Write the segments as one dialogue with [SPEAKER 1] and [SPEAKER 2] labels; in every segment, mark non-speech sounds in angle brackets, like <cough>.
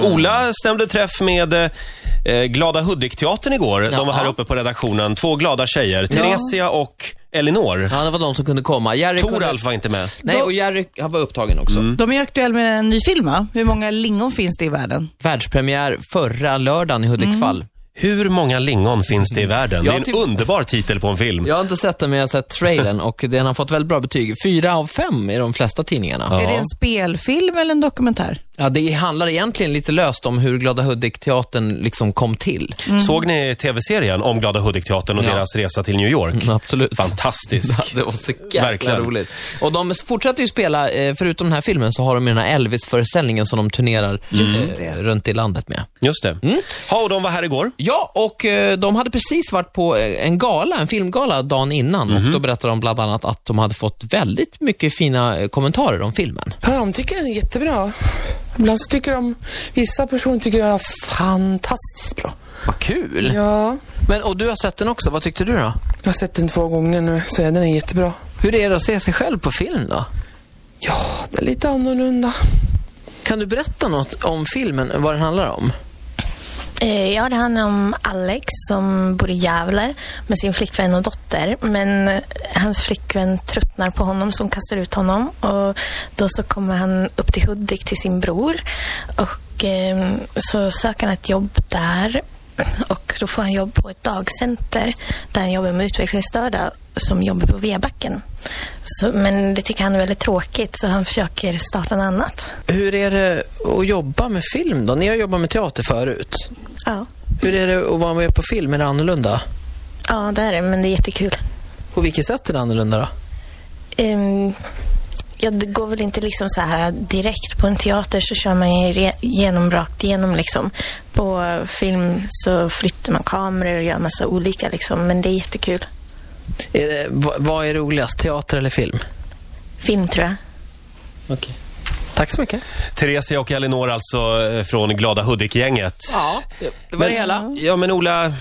[SPEAKER 1] Ola stämde träff med eh, Glada Hudik-teatern igår. De var här
[SPEAKER 2] Ja.
[SPEAKER 1] uppe på redaktionen. Två glada tjejer, Theresia och Elinor.
[SPEAKER 2] Ja, det var de som kunde komma. Jerry kunde...
[SPEAKER 1] Toralf var inte med.
[SPEAKER 2] Nej, och Jerry han var upptagen också.
[SPEAKER 3] De är ju aktuella med en ny film, va? Hur många lingon finns det i världen?
[SPEAKER 2] Världspremiär förra lördagen i Hudiksvall.
[SPEAKER 1] Hur många lingon finns det i världen? Det
[SPEAKER 2] Ja,
[SPEAKER 1] är en
[SPEAKER 2] typ-
[SPEAKER 1] underbar titel på en film.
[SPEAKER 2] Jag har inte sett den, men jag har sett trailern och den har fått väldigt bra betyg. Fyra av fem i de flesta tidningarna.
[SPEAKER 3] Är det en spelfilm eller en dokumentär?
[SPEAKER 2] Ja, det handlar egentligen lite löst om hur Glada Hudik-teatern liksom kom <laughs> till.
[SPEAKER 1] Såg ni tv-serien om Glada Hudik-teatern och
[SPEAKER 2] Ja.
[SPEAKER 1] deras resa till New York?
[SPEAKER 2] Mm, absolut.
[SPEAKER 1] Fantastisk.
[SPEAKER 2] Det var så jäkla
[SPEAKER 1] Verkligen.
[SPEAKER 2] roligt. Och de fortsätter ju spela, eh, förutom den här filmen, så har de ju den här Elvis-föreställningen som de turnerar eh, runt i landet med.
[SPEAKER 1] Just det.
[SPEAKER 2] Mm.
[SPEAKER 1] Ha, och de var här igår.
[SPEAKER 2] Ja, och eh, de hade precis varit på eh, en gala, en filmgala dagen innan och då berättade de bland annat att de hade fått väldigt mycket fina eh, kommentarer om filmen.
[SPEAKER 4] Ja, de tycker den är jättebra. Ibland så tycker de, vissa personer tycker den är fantastiskt bra.
[SPEAKER 2] Vad kul!
[SPEAKER 4] Ja,
[SPEAKER 2] Men, och du har sett den också, vad tyckte du då?
[SPEAKER 4] jag har sett den två gånger nu, så den är jättebra.
[SPEAKER 2] Hur är det att se sig själv på film då?
[SPEAKER 4] Ja, det är lite annorlunda.
[SPEAKER 2] Kan du berätta något om filmen, vad den handlar om?
[SPEAKER 5] Eh, Ja, det handlar om Alex som bor i Gävle med sin flickvän och dotter. Men eh, hans flickvän tröttnar på honom så hon kastar ut honom. Och då så kommer han upp till Hudik till sin bror. Och eh, så söker han ett jobb där. Och då får han jobb på ett dagcenter där han jobbar med utvecklingsstörda som jobbar på Vebacken. Så, men det tycker han är väldigt tråkigt så han försöker starta något annat.
[SPEAKER 2] Hur är det att jobba med film då? Ni har jobbat med teater förut.
[SPEAKER 5] Ja,
[SPEAKER 2] Hur är det att vara med på film? Är det annorlunda?
[SPEAKER 5] ja det är det, men det är jättekul.
[SPEAKER 2] På vilket sätt är det annorlunda då?
[SPEAKER 5] Ehm, ja, det går väl inte liksom så här direkt. På en teater så kör man ju re- genom, rakt igenom liksom. På film så flyttar man kameror och gör massa olika liksom. Men det är jättekul.
[SPEAKER 2] Är det, vad, vad är roligast, teater eller film?
[SPEAKER 5] Film tror jag.
[SPEAKER 2] Tack så mycket.
[SPEAKER 1] Theresia och Elinor alltså eh, från Glada Hudik-gänget.
[SPEAKER 2] Ja, det var
[SPEAKER 1] Men-
[SPEAKER 2] det hela.
[SPEAKER 1] Ja, men Ola.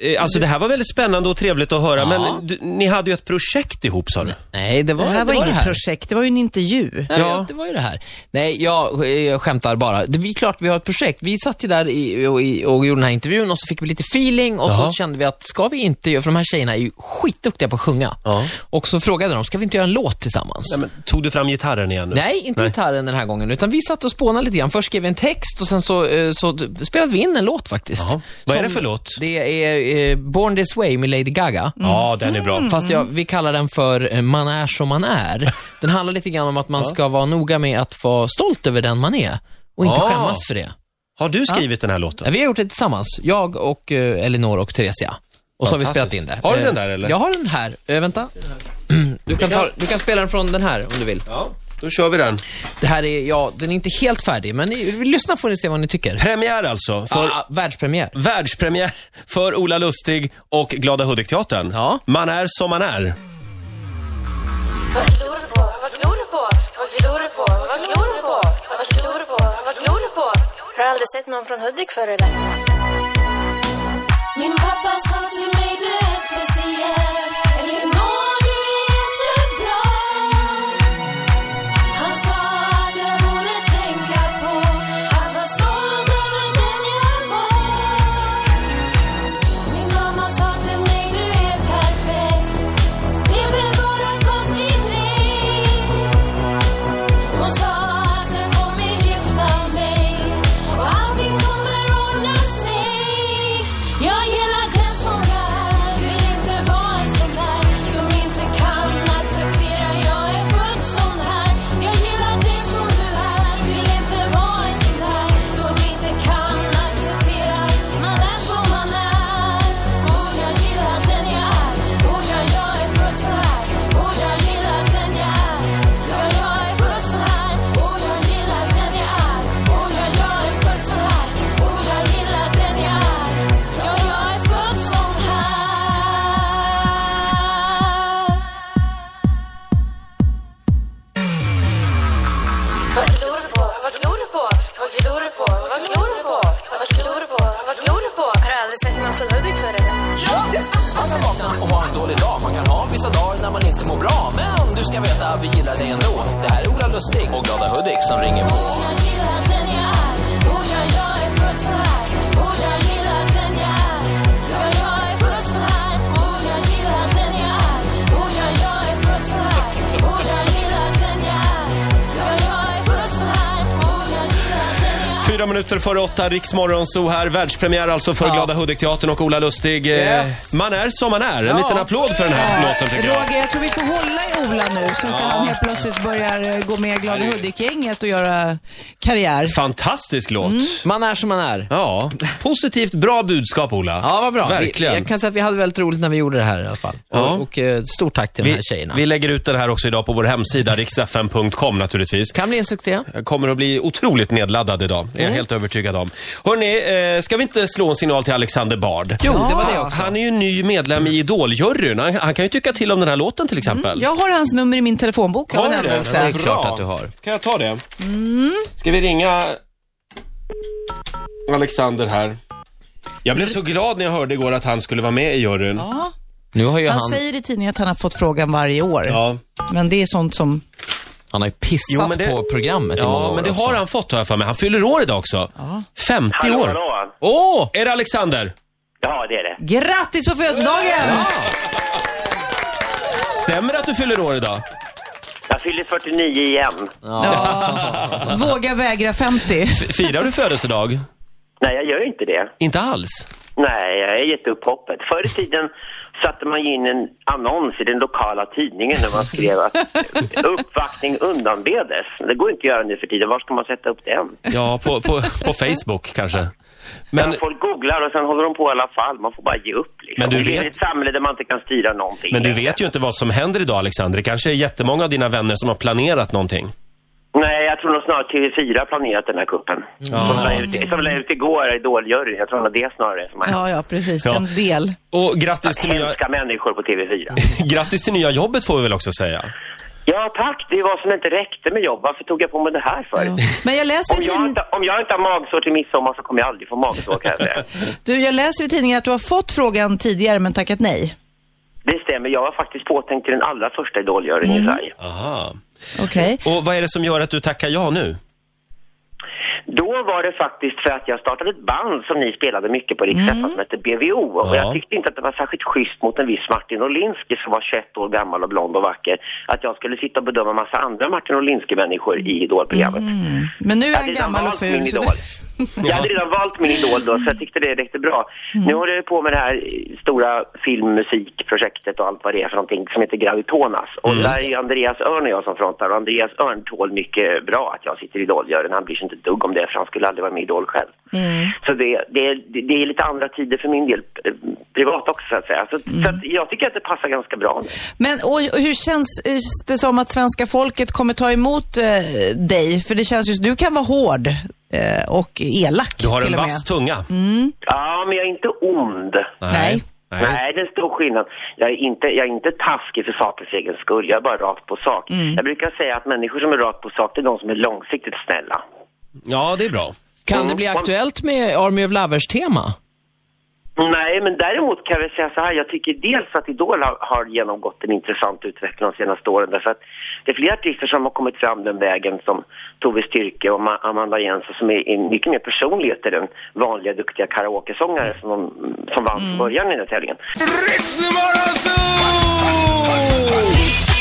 [SPEAKER 1] eh, Alltså det här var väldigt spännande och trevligt att höra, men eh, du, ni hade ju ett projekt ihop sa du?
[SPEAKER 2] Nej, det var
[SPEAKER 3] Det här var,
[SPEAKER 2] det
[SPEAKER 3] inget
[SPEAKER 2] här.
[SPEAKER 3] projekt, det var ju en intervju.
[SPEAKER 2] Nej,
[SPEAKER 1] Ja.
[SPEAKER 2] ja. Det var ju det här. Nej, jag, jag skämtar bara. Det är klart vi har ett projekt. Vi satt ju där i, och, i- och gjorde den här intervjun och så fick vi lite feeling och
[SPEAKER 1] Jaha.
[SPEAKER 2] så kände vi att ska vi inte göra, för de här tjejerna är ju skitduktiga på att sjunga.
[SPEAKER 1] Ja.
[SPEAKER 2] Och så frågade de, ska vi inte göra en låt tillsammans?
[SPEAKER 1] Nej, men, tog du fram gitarren igen nu?
[SPEAKER 2] Nej, inte gitarren den här gången, utan vi satt och spånade lite grann. Först skrev vi en text och sen så, eh, så spelade vi in en låt faktiskt.
[SPEAKER 1] Jaha. Vad är
[SPEAKER 2] Som-
[SPEAKER 1] det för låt?
[SPEAKER 2] Det är eh, Born This Way med Lady Gaga.
[SPEAKER 1] Ja, den är bra.
[SPEAKER 2] Fast jag, vi kallar den för eh, Man är som man är. Den handlar lite grann om att man ska vara noga med att vara stolt över den man är och inte
[SPEAKER 1] Ah.
[SPEAKER 2] skämmas för det.
[SPEAKER 1] Har du skrivit den här
[SPEAKER 2] Ja,
[SPEAKER 1] låten?
[SPEAKER 2] Vi har gjort det tillsammans, jag och eh, Elinor och Theresia. Och så har vi
[SPEAKER 1] Fantastiskt.
[SPEAKER 2] spelat in det.
[SPEAKER 1] Har du
[SPEAKER 2] Eh,
[SPEAKER 1] den där, eller?
[SPEAKER 2] Jag har den här. Eh, vänta. <clears throat> Du kan, ta, du kan spela den från den här om du vill.
[SPEAKER 1] Ja, då kör vi den.
[SPEAKER 2] Det här är, ja, den är inte helt färdig, men ni, lyssna får ni se vad ni tycker.
[SPEAKER 1] Premiär alltså, för
[SPEAKER 2] ah, världspremiär.
[SPEAKER 1] världspremiär för Ola Lustig och Glada Hudik-teatern.
[SPEAKER 2] Ja.
[SPEAKER 1] Man är som man är.
[SPEAKER 6] Vad glor du på? Vad glor du på? Vad glor du på? Vad glor du på? Vad glor du på? Vad glor du på?
[SPEAKER 5] Har du aldrig sett någon från Hudik förr eller?
[SPEAKER 6] Min pappa sa till mig du är speciell Elinor, du är jättebra Han sa att jag borde tänka på att vara stolt över den jag var Min mamma sa till mig du är perfekt Det är väl bara kontinuerligt Hon sa att jag kommer gifta mig och allting kommer ordna sig. Jag gillar den som är, vill inte vara en sån här som inte kan acceptera. Jag är född sån här. Jag gillar det som du är, vill inte vara en sån här som inte kan acceptera. Man är som man är. Och jag gillar den jag är. Och jag, jag är född så här. Och jag gillar den jag är. Ja, jag är född så här. Och jag gillar den jag är. Och jag, jag är född så här. Och jag gillar den jag är. Ja, jag är född sån här.
[SPEAKER 7] Vad glor du på? Vad glor du på? Vad glor du på? Vad glor du på? Vad glor du på? Vad glor du på?
[SPEAKER 5] Har du aldrig sett någon från Hudik förr eller?
[SPEAKER 8] Man kan vakna och ha en dålig dag. Man kan ha vissa dagar när man inte mår bra. Men du ska veta, vi gillar dig ändå. Det här är Ola Lustig och Glada Hudik som ringer på.
[SPEAKER 6] Jag gillar den jag är. Och jag,
[SPEAKER 1] Fyra minuter före åtta, Riksmorgon så här. Världspremiär alltså för Glada Hudik-teatern och Ola Lustig. Eh,
[SPEAKER 2] Yes.
[SPEAKER 1] Man är som man är. En liten applåd för den här låten tycker jag.
[SPEAKER 3] Roger, jag tror vi får hålla i Ola nu så att han helt plötsligt börjar eh, gå med i Glada Hudik-gänget och göra karriär.
[SPEAKER 1] Fantastisk låt.
[SPEAKER 2] Man är som man är.
[SPEAKER 1] Ja, positivt, bra budskap Ola.
[SPEAKER 2] Ja, vad bra.
[SPEAKER 1] Verkligen.
[SPEAKER 2] Vi, jag kan säga att vi hade väldigt roligt när vi gjorde det här i alla fall.
[SPEAKER 1] Ja.
[SPEAKER 2] Och, och eh, stort tack till de
[SPEAKER 1] vi,
[SPEAKER 2] här tjejerna.
[SPEAKER 1] vi lägger ut den här också idag på vår
[SPEAKER 2] <laughs>
[SPEAKER 1] hemsida, riksfm.com naturligtvis.
[SPEAKER 2] Kan bli en succé.
[SPEAKER 1] Jag kommer att bli otroligt nedladdad idag, det är jag
[SPEAKER 2] Mm.
[SPEAKER 1] helt övertygad om. Hörni, eh, ska vi inte slå en signal till Alexander Bard?
[SPEAKER 2] Jo, det var det också.
[SPEAKER 1] Han är ju ny medlem i Idol-juryn. Han, han kan ju tycka till om den här låten till exempel.
[SPEAKER 2] Mm,
[SPEAKER 3] Jag har hans nummer i min telefonbok av en
[SPEAKER 1] du
[SPEAKER 3] händelse.
[SPEAKER 2] det är
[SPEAKER 1] Bra.
[SPEAKER 2] klart att du har.
[SPEAKER 1] Kan jag ta det? Ska vi ringa Alexander här? Jag blev så glad när jag hörde igår att han skulle vara med i juryn. Ja.
[SPEAKER 3] Ja.
[SPEAKER 2] Nu har ju han,
[SPEAKER 3] Han
[SPEAKER 2] han,
[SPEAKER 3] säger i tidningen att han har fått frågan varje år. Men det är sånt som...
[SPEAKER 2] har ju pissat
[SPEAKER 1] Jo, men det-
[SPEAKER 2] på programmet i många
[SPEAKER 1] Ja,
[SPEAKER 2] år
[SPEAKER 1] men det
[SPEAKER 2] också.
[SPEAKER 1] har han fått har jag för mig. Han fyller år idag också. 50
[SPEAKER 6] Hallå,
[SPEAKER 1] år.
[SPEAKER 6] hallå.
[SPEAKER 2] Åh!
[SPEAKER 1] Är det Alexander?
[SPEAKER 6] Ja, det är det.
[SPEAKER 3] Grattis på födelsedagen!
[SPEAKER 1] Stämmer det att du fyller år idag?
[SPEAKER 6] Jag fyller 49 igen.
[SPEAKER 3] Ja. Våga vägra 50.
[SPEAKER 1] F- Firar du födelsedag?
[SPEAKER 6] Nej, jag gör inte det.
[SPEAKER 1] Inte alls.
[SPEAKER 6] Nej, jag har gett upp hoppet. Förr i
[SPEAKER 1] <laughs>
[SPEAKER 6] tiden satte man ju in en annons i den lokala tidningen när man skrev att uppvaktning undanbedes. Men Det går inte att göra nu för tiden. Var ska man sätta upp den?
[SPEAKER 1] Ja, på, på, på Facebook kanske. Men,
[SPEAKER 6] Men... Folk googlar och sen håller de på i alla fall. Man får bara ge upp liksom.
[SPEAKER 1] Men du
[SPEAKER 6] Vi lever i
[SPEAKER 1] vet-
[SPEAKER 6] ett samhälle där man inte kan styra någonting.
[SPEAKER 1] men du
[SPEAKER 6] längre.
[SPEAKER 1] vet ju inte vad som händer idag Alexander. Det kanske är jättemånga av dina vänner som har planerat
[SPEAKER 2] Mm.
[SPEAKER 1] någonting.
[SPEAKER 6] Nej, jag tror nog snarare TV4 har planerat den här kuppen. Som la
[SPEAKER 2] Mm.
[SPEAKER 6] ut- Som la ut igår, Idol-juryn. Jag tror nog det snarare är som är.
[SPEAKER 3] Ja, ja, precis.
[SPEAKER 1] Ja.
[SPEAKER 3] En del.
[SPEAKER 1] Och grattis till, nya,
[SPEAKER 6] Hemska människor på
[SPEAKER 1] <laughs>
[SPEAKER 6] TV4.
[SPEAKER 1] grattis till nya jobbet får vi väl också säga.
[SPEAKER 6] Ja, tack. Det var som inte räckte med jobb. Varför tog jag på mig det här för?
[SPEAKER 3] Ja. Men jag läser,
[SPEAKER 6] Om,
[SPEAKER 3] i
[SPEAKER 6] jag
[SPEAKER 3] tidningen,
[SPEAKER 6] inte, om jag inte har magsår till midsommar så kommer jag aldrig få magsår, kan jag säga.
[SPEAKER 3] <laughs> du, jag läser i tidningen att du har fått frågan tidigare men tackat nej.
[SPEAKER 6] Det stämmer. Jag var faktiskt påtänkt till den allra första idolgöringen
[SPEAKER 3] Mm.
[SPEAKER 6] i Sverige.
[SPEAKER 1] Aha.
[SPEAKER 3] Okej.
[SPEAKER 1] Och vad är det som gör att du tackar ja nu?
[SPEAKER 6] Då var det faktiskt för att jag startade ett band som ni spelade mycket på Riksträffen
[SPEAKER 3] Mm.
[SPEAKER 6] som hette BVO. Och
[SPEAKER 1] Ja.
[SPEAKER 6] jag tyckte inte att det var särskilt schysst mot en viss Martin Olinsky som var 21 år gammal och blond och vacker. Att jag skulle sitta och bedöma en massa andra Martin Olinsky-människor i idolprogrammet.
[SPEAKER 3] Mm. Men nu är
[SPEAKER 6] Jag hade
[SPEAKER 3] han Mm.
[SPEAKER 6] redan
[SPEAKER 3] gammal och
[SPEAKER 6] valt min
[SPEAKER 3] ful. Så
[SPEAKER 6] idol.
[SPEAKER 3] det,
[SPEAKER 6] Jag hade redan valt min idol då, så jag tyckte det räckte bra. Nu håller jag på med det här stora filmmusikprojektet och allt vad det är för någonting som heter Gravitonas. Och där är ju Andreas Örn och jag som frontar och Andreas Örn tål mycket bra att jag sitter i idolgören. Han bryr sig inte ett dugg om det för han skulle aldrig vara med i Idol själv. Så det, det, det, det är lite andra tider för min del, eh, privat också så att säga. Så, så att jag tycker att det passar ganska bra nu.
[SPEAKER 3] men och, och hur känns eh, det som att svenska folket kommer ta emot eh, dig? För det känns just, du kan vara hård eh, och elak
[SPEAKER 1] Du har en
[SPEAKER 3] till och med. Mm.
[SPEAKER 1] vass tunga.
[SPEAKER 6] Ja, men jag är inte ond.
[SPEAKER 3] Nej.
[SPEAKER 6] Nej. det är en stor skillnad. Jag är inte, jag är inte taskig för sakens egen skull. Jag är bara rakt på sak. Jag brukar säga att människor som är rakt på sak, det är de som är långsiktigt snälla.
[SPEAKER 1] Ja, det är bra.
[SPEAKER 2] Kan det bli aktuellt med Army of Lovers-tema?
[SPEAKER 6] Nej, men däremot kan jag säga så här. Jag tycker dels att Idol har, har genomgått en intressant utveckling de senaste åren. Därför att det är flera artister som har kommit fram den vägen som Tove Styrke och Ma- Amanda Jensen som är, är mycket mer personligheter än vanliga duktiga karaokesångare som, de, som vann från början i den här tävlingen.
[SPEAKER 9] Riks